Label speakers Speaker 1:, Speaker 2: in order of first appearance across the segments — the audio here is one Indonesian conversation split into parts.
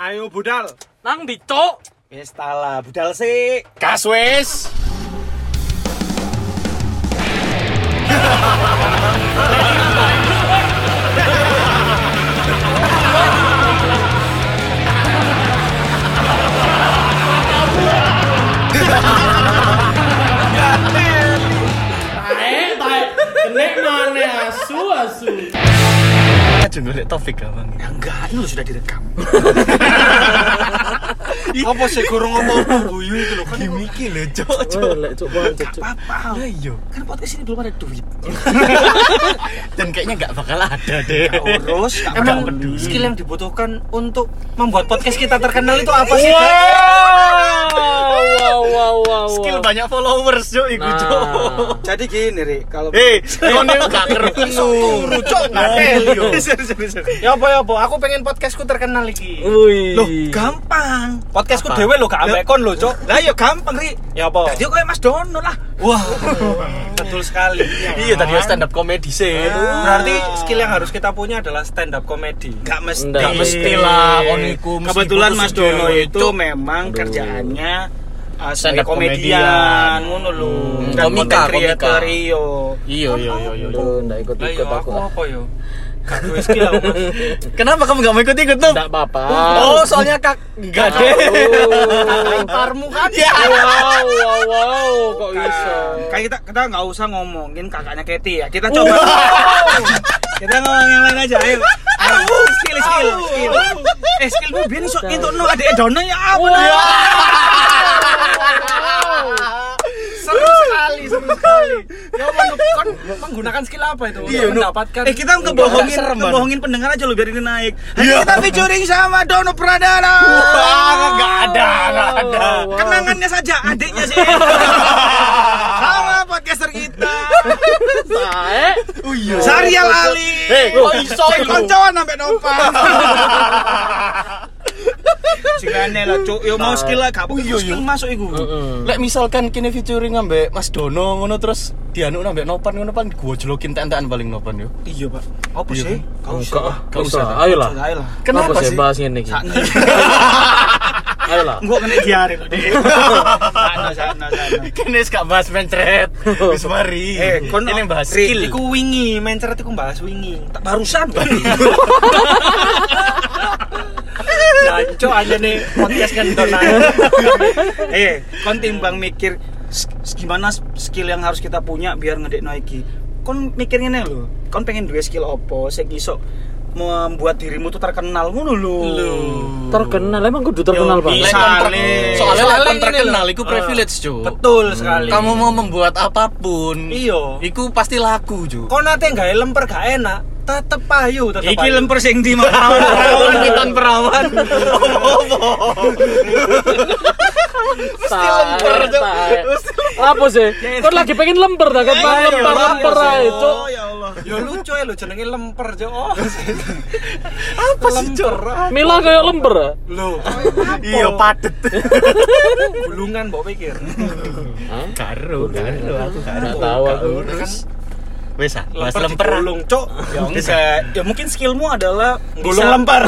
Speaker 1: Ayo budal.
Speaker 2: Nang ndi, Cuk?
Speaker 3: Wis tala, budal sik.
Speaker 4: Gas wis. Eh,
Speaker 5: Tae, tae. Kenek mana asu asu.
Speaker 4: Aduh golek Taufik gampang.
Speaker 3: Enggak, ini lo sudah direkam.
Speaker 4: Apa sih kurang ngomong guyu itu lho kan gimiki lho, Cok.
Speaker 2: Wah, lek Cuk, wah, Cuk, Cuk.
Speaker 3: Apa?
Speaker 4: Ya iya.
Speaker 3: Kan podcast ini belum ada duit.
Speaker 4: Dan kayaknya enggak bakal ada deh.
Speaker 3: Nggak urus, nggak
Speaker 4: Emang
Speaker 3: peduli. skill yang dibutuhkan untuk membuat podcast kita terkenal itu apa sih?
Speaker 2: Wow, wow, wow, wow.
Speaker 4: skill banyak followers, Cok, iku,
Speaker 2: Nah.
Speaker 4: Cok.
Speaker 3: Jadi gini, Ri, kalau
Speaker 4: Hei, kono eh, gak Nah. kerungu.
Speaker 3: Rucuk ngatel yo. Ya apa ya apa, aku pengen podcastku terkenal iki.
Speaker 2: Wih.
Speaker 3: Loh, gampang. Podcastku dhewe lho gak ambek kon lho, Cuk. Lah ya gampang, Ri. Ya apa? Jadi koyo Mas Dono lah. Wah. Betul sekali.
Speaker 4: Iya tadi stand up comedy sih. Ah.
Speaker 3: Berarti skill yang harus kita punya adalah stand up comedy. Gak mesti.
Speaker 2: Nggak
Speaker 4: Gak mesti lah koniku mesti
Speaker 3: Iya. Kebetulan
Speaker 4: fokus
Speaker 3: Mas
Speaker 4: dhewe,
Speaker 3: Dono itu
Speaker 4: Cuk.
Speaker 3: memang kerjaannya uh,
Speaker 4: Stand
Speaker 3: stand
Speaker 4: up
Speaker 3: up
Speaker 4: komedian.
Speaker 3: komedian, ngono lho.
Speaker 4: Hmm,
Speaker 3: Dan
Speaker 4: komika,
Speaker 3: content
Speaker 4: komika.
Speaker 3: creator, iyo.
Speaker 4: Iya, iya, iya, iya.
Speaker 2: Lu ndak
Speaker 3: Lah yo
Speaker 2: ikut-ikut aku.
Speaker 3: aku apa yo? Gak duwe skill aku. Mas.
Speaker 4: Kenapa kamu gak mau ikut ikut tuh?
Speaker 2: Ndak apa-apa.
Speaker 4: Oh, soalnya kak enggak deh.
Speaker 3: Parmu kan
Speaker 4: Ya.
Speaker 2: Wow, wow, wow, kok bisa?
Speaker 3: Kayak kita kita nggak usah ngomongin kakaknya Katy ya. Kita coba. kita ngomong yang lain aja. Ayo. Ayo. Skill, skill, skill. Eh, skillmu biar so itu no ada Dono ya apa? Seru sekali, seru sekali. Ya apa Nuk? kon menggunakan skill apa itu? Iya, mendapatkan. Eh, kita ngebohongin,
Speaker 4: serem, Man.
Speaker 3: ngebohongin pendengar aja lo biar ini naik. Hari kita featuring sama Dono Pradana.
Speaker 4: Enggak Ah, ada, enggak ada.
Speaker 3: Kenangannya saja adiknya sih. Sama podcaster kita.
Speaker 2: Sae.
Speaker 4: Oh iya.
Speaker 3: Sarial Ali.
Speaker 4: Eh, kok iso
Speaker 3: Cek
Speaker 4: itu?
Speaker 3: koncoan sampai nopan. Jigane lah cuk, yo mau skill lah gak apa
Speaker 4: Iya,
Speaker 3: skill
Speaker 4: iya.
Speaker 3: masuk iku.
Speaker 4: Lek misalkan kini featuring ambek Mas Dono ngono terus dianu ambek Nopan ngono pan gua jolokin tentean paling Nopan yo.
Speaker 3: Iya, Pak. Apa
Speaker 4: Iya,
Speaker 3: sih? Kau
Speaker 2: Enggak,
Speaker 3: usah.
Speaker 2: enggak usah.
Speaker 4: usah.
Speaker 2: Ayolah.
Speaker 3: Ayo lah.
Speaker 4: Kenapa
Speaker 2: Apa
Speaker 4: sih?
Speaker 2: bahas ngene iki? Ayolah.
Speaker 3: Gua kena diare kok. Dek. Sana sana sana.
Speaker 4: Kene gak bahas mencret. Wis mari.
Speaker 3: oh,
Speaker 4: ini bahas skill.
Speaker 3: Eh, Iku wingi, mencret iku bahas wingi. Tak barusan. Janco aja nih podcast ngendon aja. Eh, kon timbang mikir s- s- gimana s- skill yang harus kita punya biar ngedekno iki. Kon mikir ngene lho, kon pengen duwe skill opo sing iso membuat dirimu tuh terkenal ngono lho.
Speaker 2: Terkenal emang kudu terkenal,
Speaker 3: Yo,
Speaker 2: Bang.
Speaker 3: bisa.
Speaker 4: Lek kontrak-
Speaker 3: Soalnya-
Speaker 4: soalnya lek
Speaker 3: soalnya
Speaker 4: kon
Speaker 3: ini
Speaker 4: terkenal
Speaker 3: lho.
Speaker 4: iku privilege, Cuk.
Speaker 3: Betul sekali.
Speaker 4: Kamu mau membuat apapun,
Speaker 3: Iya.
Speaker 4: Iku pasti laku, Cuk.
Speaker 3: Kau nate nggak lemper gak enak, tetep payu, tetep
Speaker 4: Iki lemper
Speaker 3: sing di perawan, kita perawan.
Speaker 2: Mesti lemper, Cuk. Apa sih? Kau lagi pengen lemper dah
Speaker 4: Iya,
Speaker 2: kan?
Speaker 4: Eh,
Speaker 3: Ayo,
Speaker 2: Lemper,
Speaker 3: ya
Speaker 2: lemper
Speaker 4: ah,
Speaker 3: Allah.
Speaker 2: aja, Cuk.
Speaker 3: Ya Allah. Yo lucu ya lo jenenge lemper, Cuk. Oh. Apa sih, Cuk? Oh, ya
Speaker 2: Mila kayak lemper. ah?
Speaker 3: Lo,
Speaker 4: Iya, padet.
Speaker 3: gulungan mbok pikir.
Speaker 4: Karo, karo aku karo.
Speaker 2: Nggak tahu aku.
Speaker 4: Terus wis ah, bahas
Speaker 3: kan? Lemper
Speaker 4: lemper. ah.
Speaker 3: digulung, Cuk. Ya enggak. Ya mungkin skillmu adalah gulung
Speaker 4: Bisa.
Speaker 3: lemper.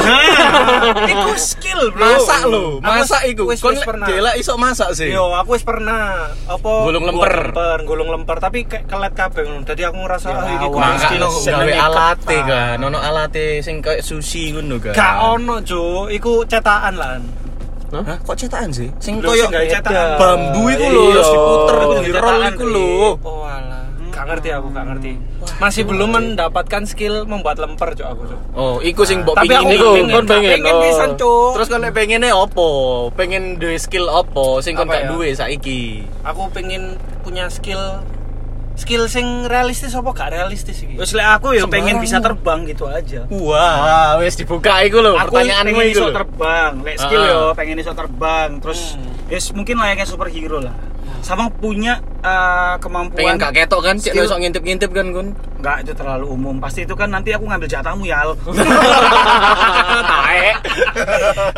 Speaker 3: Iku skill, Bro.
Speaker 4: Masak lo, masak
Speaker 3: Aku
Speaker 4: iku.
Speaker 3: wis-
Speaker 4: Kon
Speaker 3: wis
Speaker 4: lek
Speaker 3: pernah. Iya.
Speaker 4: delak iso masak sih.
Speaker 3: Yo, aku wis pernah apa
Speaker 4: Gulung lemper. Ya,
Speaker 3: gulung lemper, gulung lemper tapi kayak kelet kabeh ngono. Dadi aku ngerasa ah iki kurang
Speaker 4: Mangka
Speaker 3: skill
Speaker 4: lo gawe
Speaker 3: seneng
Speaker 4: alate
Speaker 3: iket,
Speaker 4: kan, ono alate sing kayak sushi ngono kan.
Speaker 3: Pak. Ah. Gak ono, Cuk. Iku cetakan lan.
Speaker 4: Hah, kok cetakan sih? Sing
Speaker 3: Lho,
Speaker 4: koyo
Speaker 3: sing gawe cetakan.
Speaker 4: bambu iku lho,
Speaker 2: Iya.
Speaker 4: terus diputer iku di roll
Speaker 3: Cetakan
Speaker 4: iku
Speaker 3: kuwi.
Speaker 4: lho.
Speaker 3: Oh, alah. Gak ngerti aku, gak ngerti. Masih belum mendapatkan skill membuat lemper, Cuk aku, Cuk.
Speaker 4: Oh, iku sing mbok
Speaker 3: Tapi
Speaker 4: pingin
Speaker 3: aku
Speaker 4: iku.
Speaker 3: pengen,
Speaker 2: kon pengen,
Speaker 3: pengen
Speaker 2: oh.
Speaker 3: pisan, Cuk.
Speaker 4: Terus kon lek pengene opo? Pengen duwe skill opo sing kon
Speaker 3: Apa
Speaker 4: gak
Speaker 3: ya?
Speaker 4: duwe saiki?
Speaker 3: aku pengen punya skill skill sing realistis apa gak realistis iki? Wis lek aku ya pengen bisa terbang gitu aja.
Speaker 4: Wah, wis dibuka iku lho
Speaker 3: aku
Speaker 4: pertanyaanmu
Speaker 3: pengen
Speaker 4: iku.
Speaker 3: iso
Speaker 4: lho.
Speaker 3: terbang lek skill
Speaker 4: Ah. Hmm.
Speaker 3: yo pengen iso terbang terus yes, mungkin layaknya superhero lah sama punya eh,
Speaker 4: Ah.
Speaker 3: kemampuan
Speaker 4: Pengen gak ketok kan, cek
Speaker 3: Skill.
Speaker 4: iso ngintip-ngintip kan kon.
Speaker 3: Nggak, itu terlalu umum pasti itu kan nanti aku ngambil jatahmu ya
Speaker 4: Taek.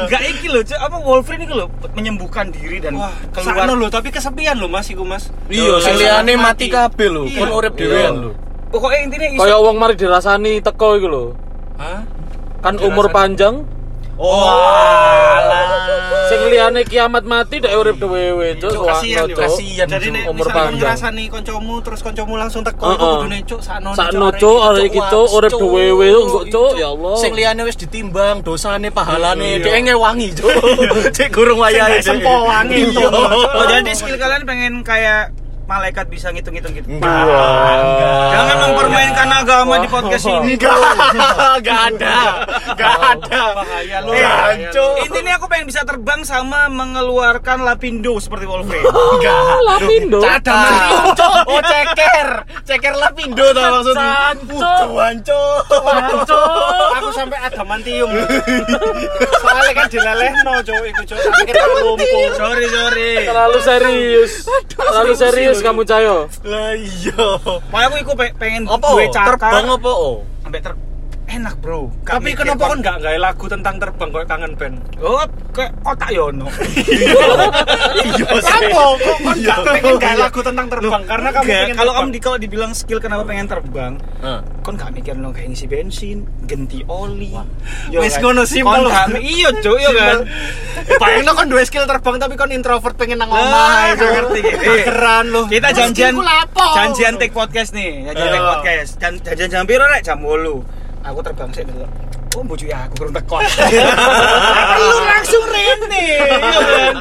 Speaker 3: nggak iki loh Cuk. apa Wolverine iki loh menyembuhkan diri dan
Speaker 5: Wah,
Speaker 3: keluar
Speaker 5: sakno lho, tapi kesepian lho Mas iku Mas.
Speaker 4: Iya, sing liyane mati kabeh lho, kon
Speaker 5: Iya.
Speaker 4: urip dhewean lho.
Speaker 3: pokoknya intinya iso
Speaker 2: Kayak wong mari dirasani teko iku lho.
Speaker 5: Hah?
Speaker 2: Kan umur
Speaker 5: Dirasani.
Speaker 2: panjang,
Speaker 5: Oh,
Speaker 2: Sing liyane kiamat mati dek urip dhewe, cuk.
Speaker 5: Cuk,
Speaker 2: Soalno,
Speaker 5: kasihan, Cuk.
Speaker 2: Cuk.
Speaker 4: Kasihan,
Speaker 5: Iya, Jadi
Speaker 4: Cuk.
Speaker 5: nek
Speaker 2: Umur
Speaker 5: misalnya
Speaker 2: panjang.
Speaker 5: ngrasani koncomu terus koncomu langsung teko
Speaker 2: Heeh.
Speaker 5: iku kudune cuk sakno
Speaker 2: Sakno, Cuk, Iya, arek iki, Cuk, urip dhewe, Cuk, enggak, Cuk, ya Allah.
Speaker 4: Sing liyane wis ditimbang dosane pahalane,
Speaker 2: Iya.
Speaker 4: dhek ngewangi, Cuk. Cek gurung wayahe. Cuk.
Speaker 5: sempoang itu.
Speaker 4: Iya.
Speaker 5: Oh, jadi skill kalian pengen kayak malaikat bisa ngitung-ngitung gitu.
Speaker 4: Enggak.
Speaker 5: Jangan mempermainkan agama di podcast ini.
Speaker 4: Enggak. Enggak ada. Enggak ada.
Speaker 5: Bahaya lu.
Speaker 4: Eh, hancur.
Speaker 5: Intinya aku pengen bisa terbang sama mengeluarkan lapindo seperti Wolverine.
Speaker 4: Enggak.
Speaker 2: Ah, Lapindo.
Speaker 4: Cadang. Oh, ceker. Ceker Lapindo ta maksudmu.
Speaker 2: Cancuk.
Speaker 4: Cuan, Cuk.
Speaker 3: aku sampai adamantium soalnya kan dilelehno cowok iku cowok tak pikir tak lumpuh
Speaker 5: sorry, sorry.
Speaker 2: Terlalu serius. Terlalu serius kamu, Cayo.
Speaker 4: Lah iya.
Speaker 5: Makanya aku iku pe- pengen
Speaker 4: Apa?
Speaker 5: duwe cakar. Iya,
Speaker 4: Terbang apa? oh?
Speaker 5: Sampai ter enak, Bro. Gak
Speaker 3: tapi
Speaker 5: mikir
Speaker 3: kenapa
Speaker 5: kon-
Speaker 3: kan nggak nggak lagu tentang terbang kok kangen band
Speaker 5: Oh, kayak kotak ya ono.
Speaker 4: Iya.
Speaker 3: apa kok kan
Speaker 4: Iya.
Speaker 3: nggak pengen nggak lagu tentang terbang karena kamu
Speaker 5: Enggak,
Speaker 3: pengen
Speaker 5: kalau kamu
Speaker 3: terbang.
Speaker 5: di, kalau dibilang skill kenapa pengen terbang,
Speaker 4: Heeh.
Speaker 5: kon gak mikir no kayak ngisi bensin, genti oli.
Speaker 3: Wis ngono simpel.
Speaker 5: Iya, Cuk, iya kan.
Speaker 3: Bayangno kan dua skill terbang tapi kan introvert pengen nang
Speaker 5: Nah,
Speaker 3: omah ya itu
Speaker 5: ngerti gitu.
Speaker 3: Keren loh.
Speaker 5: Kita janjian
Speaker 3: skillku lapo.
Speaker 5: janjian take podcast nih, janjian take
Speaker 3: Iya.
Speaker 5: podcast. Jan- Janjian jam piro rek? Jam 8. Aku terbang sik dulu. Oh, bojo ya aku kurang tekon. Lu langsung rene. Iya kan?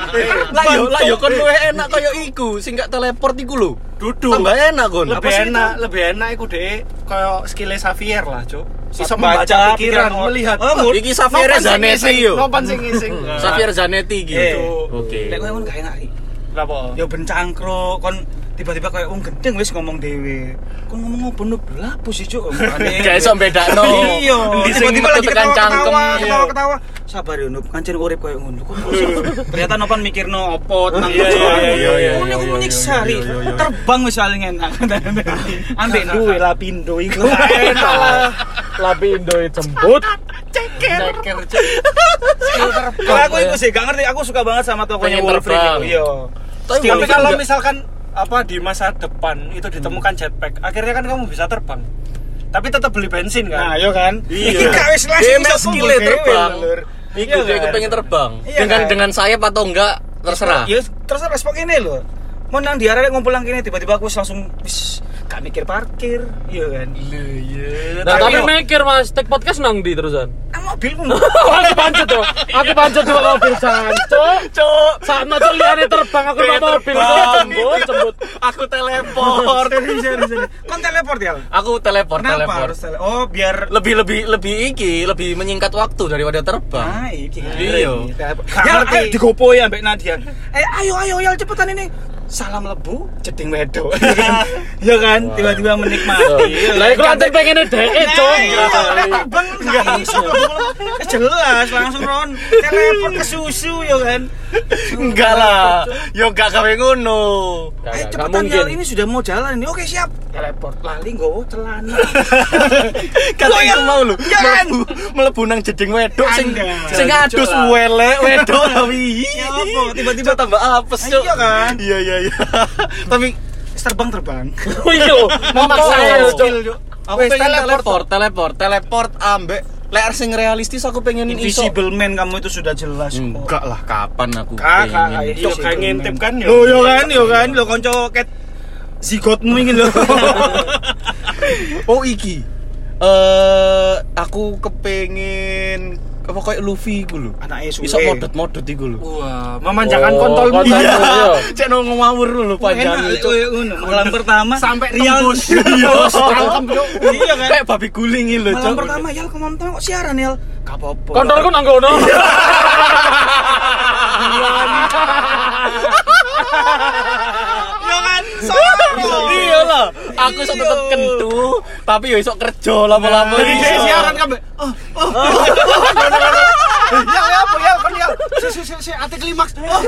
Speaker 4: Lah yo, lah yo kon luwih enak kaya iku, sing gak teleport iku lho.
Speaker 3: duduk.
Speaker 4: Tambah enak kon.
Speaker 3: Lebih
Speaker 5: sih
Speaker 3: enak, lebih enak iku deh kayak skillnya Xavier lah, Cuk. Bisa
Speaker 5: Baca
Speaker 3: membaca
Speaker 5: pikiran,
Speaker 3: pikiran,
Speaker 5: oh.
Speaker 3: melihat.
Speaker 5: Oh, ngur- Nah,
Speaker 4: Iki Xavier
Speaker 3: Nopan sing
Speaker 4: Zanetti
Speaker 3: ngising,
Speaker 4: yo.
Speaker 3: Nopan sing ngising.
Speaker 4: Xavier Zanetti
Speaker 5: Eh,
Speaker 4: gitu. Oke.
Speaker 5: Lek kowe ngono gak enak. Ri.
Speaker 3: Lapo?
Speaker 5: Ya ben cangkruk kon tiba-tiba kayak wong gendeng wis ngomong dhewe. Kon ngomong ngopo nuk lapo sih, Cuk? Omongane.
Speaker 4: Gak iso bedakno.
Speaker 5: Iya.
Speaker 4: Endi sing
Speaker 5: Tiba-tiba lagi
Speaker 4: tekan cangkem. Iya.
Speaker 5: ketawa-ketawa, ketawa-ketawa. Sabar yo, Nup. Kancen urip koyo ngono. Kok iso? Ternyata Nopan mikirno opo tentang
Speaker 4: Iya, iya, iya, iya, iya,
Speaker 5: Ngono
Speaker 4: iya,
Speaker 5: iku
Speaker 4: iya,
Speaker 5: menyiksa,
Speaker 4: iya,
Speaker 5: Ri.
Speaker 4: iya, iya, iya.
Speaker 5: Terbang wis paling enak. Ambek iya, duwe lapindo iku.
Speaker 2: Lapindo e jembut.
Speaker 3: Ceker, Cuk. Skill terbang.
Speaker 5: Kalau aku iku sih gak ngerti, aku suka banget sama tokonya
Speaker 4: Pengen terbang.
Speaker 5: Wolverine. iku. Iya.
Speaker 4: Tapi
Speaker 3: Tapi kalau
Speaker 4: Wolverine
Speaker 3: misalkan apa di masa depan itu
Speaker 5: Hmm.
Speaker 3: ditemukan jetpack, akhirnya kan kamu bisa terbang. Tapi tetap beli bensin
Speaker 5: Nah,
Speaker 3: kan?
Speaker 5: yo kan.
Speaker 4: Iya.
Speaker 5: Iki gak wis langsung
Speaker 4: Dia
Speaker 5: iso
Speaker 4: emang
Speaker 5: kumpul
Speaker 4: skillnya
Speaker 5: dhewe,
Speaker 4: terbang.
Speaker 5: Lur.
Speaker 4: Iku
Speaker 5: Iya
Speaker 4: dia
Speaker 5: kan?
Speaker 4: kepengen terbang.
Speaker 5: Iya
Speaker 4: Dengan
Speaker 5: kan?
Speaker 4: dengan sayap atau enggak terserah.
Speaker 5: Ya terus respon ini loh. Mau nang di area ngumpul nang kene tiba-tiba aku wis langsung wis gak mikir parkir, iya kan. iya.
Speaker 2: Nah, tapi
Speaker 5: Tapi-
Speaker 2: mikir Mas, take podcast nang di terusan.
Speaker 5: Nang mobilmu.
Speaker 2: aku pancut tuh. Aku pancut tuh mobil jancuk.
Speaker 4: Cuk,
Speaker 2: Sakno tuh liane terbang aku nang mobil
Speaker 4: terbang.
Speaker 2: jembut, jembut.
Speaker 4: aku teleport.
Speaker 5: Serius, serius, serius. Kon teleport ya?
Speaker 4: aku teleport,
Speaker 5: Kenapa
Speaker 4: teleport.
Speaker 5: harus tele- Oh, biar
Speaker 4: Lebih lebih lebih iki, lebih menyingkat waktu daripada terbang.
Speaker 5: Ah, iki kan.
Speaker 4: Iya.
Speaker 5: Teleport.
Speaker 3: Gak
Speaker 5: Yal,
Speaker 3: ngerti.
Speaker 5: ayo digopoi ambek Nadia. Eh, ayo ayo yal cepetan ini. Salam lebu, jeding wedo. Iya kan? Tiba-tiba menikmati. Iya
Speaker 2: Lah iku lanjut pengen dheke, Cuk.
Speaker 5: Iya, terbang
Speaker 4: Iya.
Speaker 5: nggak iso. Eh, jelas langsung Ron teleport ke susu ya kan
Speaker 4: Enggak lah. Yo enggak kawe ngono.
Speaker 2: Gak- gak-
Speaker 5: eh
Speaker 2: gak
Speaker 5: cepetan
Speaker 2: mungkin. Iya.
Speaker 5: Yal, ini sudah mau jalan ini oke siap teleport lali nggowo celana
Speaker 4: Kata
Speaker 5: Loh,
Speaker 4: iku
Speaker 5: ya-
Speaker 4: mau lho.
Speaker 5: ya kan?
Speaker 4: Mlebu mlebu nang jeding wedok sing
Speaker 5: Anda.
Speaker 4: sing
Speaker 5: Jancuk
Speaker 4: adus
Speaker 5: lah.
Speaker 4: welek wedok tapi
Speaker 5: Ya apa, tiba-tiba-
Speaker 4: Iya, tambah apes
Speaker 5: Eh,
Speaker 4: Cuk.
Speaker 5: iya kan?
Speaker 4: Iya iya iya. Tapi
Speaker 5: terbang terbang
Speaker 2: Oh, iya lho.
Speaker 4: Mau
Speaker 2: Maksa
Speaker 4: maksa,
Speaker 2: ya,
Speaker 4: Cuk.
Speaker 2: Cuk.
Speaker 4: aku
Speaker 5: Wes,
Speaker 4: pengen
Speaker 5: teleport,
Speaker 4: teleport, teleport, teleport ambek lek sing realistis aku pengen iso.
Speaker 5: invisible man kamu itu sudah jelas kok gitu
Speaker 4: Enggak lah, kapan aku
Speaker 5: kakak
Speaker 4: pengen.
Speaker 5: ayo,
Speaker 3: Yo,
Speaker 5: invisible
Speaker 3: kayak ngintip
Speaker 5: man.
Speaker 3: kan,
Speaker 4: ya?
Speaker 3: yo.
Speaker 5: lo yo kan yo kan lo konco ket zigotmu ini lo
Speaker 4: Oh iki. Eh aku kepengen apa kayak Luffy iku lho.
Speaker 5: anaknya suwe
Speaker 4: Bisa modot-modot iku lho.
Speaker 3: Wah, memanjakan
Speaker 2: Oh,
Speaker 3: kontol
Speaker 2: kontol.
Speaker 3: Iya.
Speaker 2: Iya.
Speaker 4: Cek no ngawur lho
Speaker 5: panjang
Speaker 4: panjang Iya,
Speaker 5: itu malam pertama
Speaker 3: Sampai
Speaker 5: Rian-
Speaker 3: tembus. Tangkem, Cuk.
Speaker 5: iya kan
Speaker 4: Kayak babi guling iki lho,
Speaker 5: malam pertama Yal kemana kok siaran Yal gak apa-apa
Speaker 2: Kontolku nang kono.
Speaker 5: ya kan Sorry.
Speaker 4: Iya lah, aku sok tetep
Speaker 5: Iya. Nah,
Speaker 4: kentu, tapi yo iso kerja lama-lama. Iya.
Speaker 3: Jadi
Speaker 4: iso.
Speaker 3: dia siaran kan. Oh, oh. Ya, ya, apa, ya, kan ya. Si, si, si, si, ati klimaks. Oh,
Speaker 4: Wah,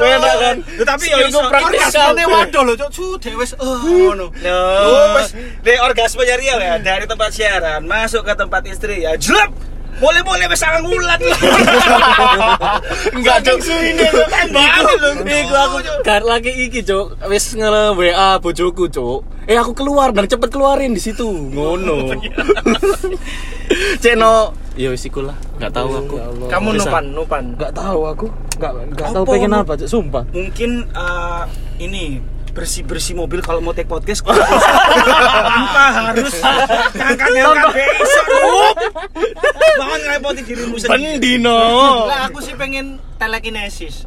Speaker 3: Iya,
Speaker 5: Iya,
Speaker 4: enak kan.
Speaker 5: Loh, tapi yo
Speaker 4: Skillku
Speaker 5: ya iso.
Speaker 4: praktis
Speaker 3: orgasmene
Speaker 4: kabeh.
Speaker 3: waduh lho, Cuk. Su, dewes. Oh, ngono.
Speaker 5: Loh, wes de orgasme nyari ya dari tempat siaran masuk ke tempat istri ya jelek. Boleh-boleh wes sangat ngulat.
Speaker 4: Enggak, Cuk.
Speaker 5: Tembakan lho.
Speaker 4: Iku aku gar lagi iki, Cuk. Wis nge-WA bojoku, Cuk. Eh
Speaker 5: Iya.
Speaker 4: aku keluar, dan cepet keluarin di situ. Ngono. Cek no ya wis iku lah nggak tahu aku
Speaker 5: Iya, ya
Speaker 3: Kamu
Speaker 4: Bisa.
Speaker 3: nupan, nupan.
Speaker 2: Ya Gak tahu aku. Gak gak
Speaker 5: Apa
Speaker 2: tahu pengen
Speaker 5: lu?
Speaker 2: apa, Cuk, sumpah.
Speaker 5: mungkin eh, ini bersih bersih mobil kalau mau take podcast tanpa harus ngangkat LKB isok banget ngerepotin dirimu sendiri
Speaker 4: Pendino.
Speaker 3: Lah aku sih pengen telekinesis.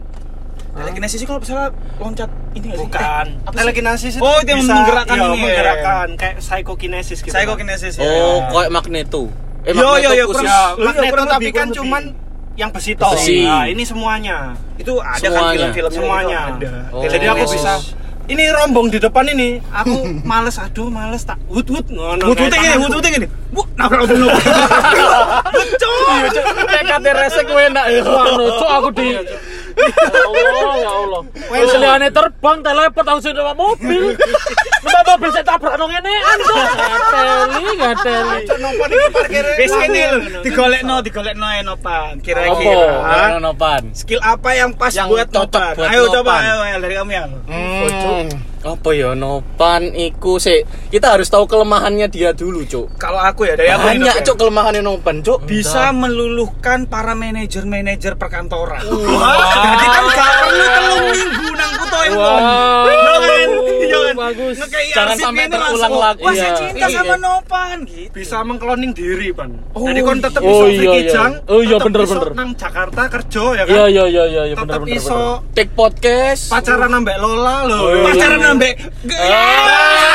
Speaker 5: telekinesis sih kalau misalnya loncat ini nggak sih?
Speaker 3: Bukan.
Speaker 5: Eh, apa sih?
Speaker 3: telekinesis
Speaker 5: Oh, itu yang
Speaker 3: bisa-
Speaker 5: menggerakkan
Speaker 3: iya,
Speaker 5: ini.
Speaker 3: menggerakkan kayak psikokinesis gitu.
Speaker 5: saya kok kinesis ya.
Speaker 4: Oh, koyo magneto. Eh,
Speaker 5: Yo, yo, yo,
Speaker 4: khusus.
Speaker 5: kurang-
Speaker 3: Ya, magneto
Speaker 5: kurang
Speaker 3: tapi
Speaker 5: lebih,
Speaker 3: kan
Speaker 5: kurang
Speaker 3: cuman yang besi toh.
Speaker 4: Besi.
Speaker 3: Nah, ini semuanya.
Speaker 5: itu ada kan
Speaker 4: Semuanya.
Speaker 5: film-filmnya
Speaker 3: Semuanya.
Speaker 5: itu ada
Speaker 4: Oh.
Speaker 3: Iya, Jadi aku
Speaker 4: Telekinesis.
Speaker 3: bisa ini rombong di depan ini aku males aduh males tak ya, wut wut ngono
Speaker 5: wut wuting ini
Speaker 3: kayak
Speaker 5: wut
Speaker 3: tanganku.
Speaker 5: wuting ini bu nabrak mobil lu
Speaker 2: Kayak kate resek gue enak ya. Anu, Cuk, aku di Ya Allah, ya Allah. Wis liane terbang teleport aku sudah numpak mobil. Numpak mobil saya tabrak nang ngene. Gateli, gateli.
Speaker 3: Nopan ini parkirnya
Speaker 5: Wis
Speaker 3: mobil.
Speaker 5: ini digolekno digolekno
Speaker 2: Apa?
Speaker 5: enopan kira-kira
Speaker 4: nopan.
Speaker 5: skill apa yang pas
Speaker 4: Yang
Speaker 5: buat
Speaker 4: cocok
Speaker 5: nopan
Speaker 4: buat
Speaker 5: ayo coba
Speaker 4: nopan.
Speaker 5: ayo ayo, dari kamu ya
Speaker 4: Hmm. Apa ya nopan iku sih? Kita harus tahu kelemahannya dia dulu, Cuk.
Speaker 5: kalau aku ya dari aku ini,
Speaker 4: Banyak,
Speaker 5: Dok, ya.
Speaker 4: Cuk, kelemahannya nopan, Cuk.
Speaker 5: bisa meluluhkan para manajer-manajer perkantoran.
Speaker 4: Uh.
Speaker 5: Jadi kan gak perlu telung minggu nang kuto yang
Speaker 2: Wow.
Speaker 3: kan?
Speaker 5: Bagus.
Speaker 3: Iya,
Speaker 2: Bagus.
Speaker 3: Nah,
Speaker 4: Jangan sampai terulang lagi.
Speaker 5: Wah, saya
Speaker 4: Iya.
Speaker 5: cinta
Speaker 2: Iya.
Speaker 5: sama Nopan gitu.
Speaker 3: bisa mengkloning diri pan
Speaker 5: Oh,
Speaker 3: jadi kon tetep
Speaker 2: iya.
Speaker 3: iso
Speaker 2: Oh, iya,
Speaker 3: Vicky
Speaker 2: iya.
Speaker 3: Jang,
Speaker 2: Oh, iya,
Speaker 3: tetep
Speaker 2: bener,
Speaker 3: iso
Speaker 2: bener.
Speaker 3: nang Jakarta kerja ya kan
Speaker 2: Iya, iya, iya, iya, ya, bener
Speaker 3: tetep
Speaker 2: bener.
Speaker 3: iso
Speaker 2: bener.
Speaker 4: Take podcast.
Speaker 3: pacaran ambek Lola loh
Speaker 2: Oh, iya.
Speaker 5: Pacaran ambek.
Speaker 4: Ah.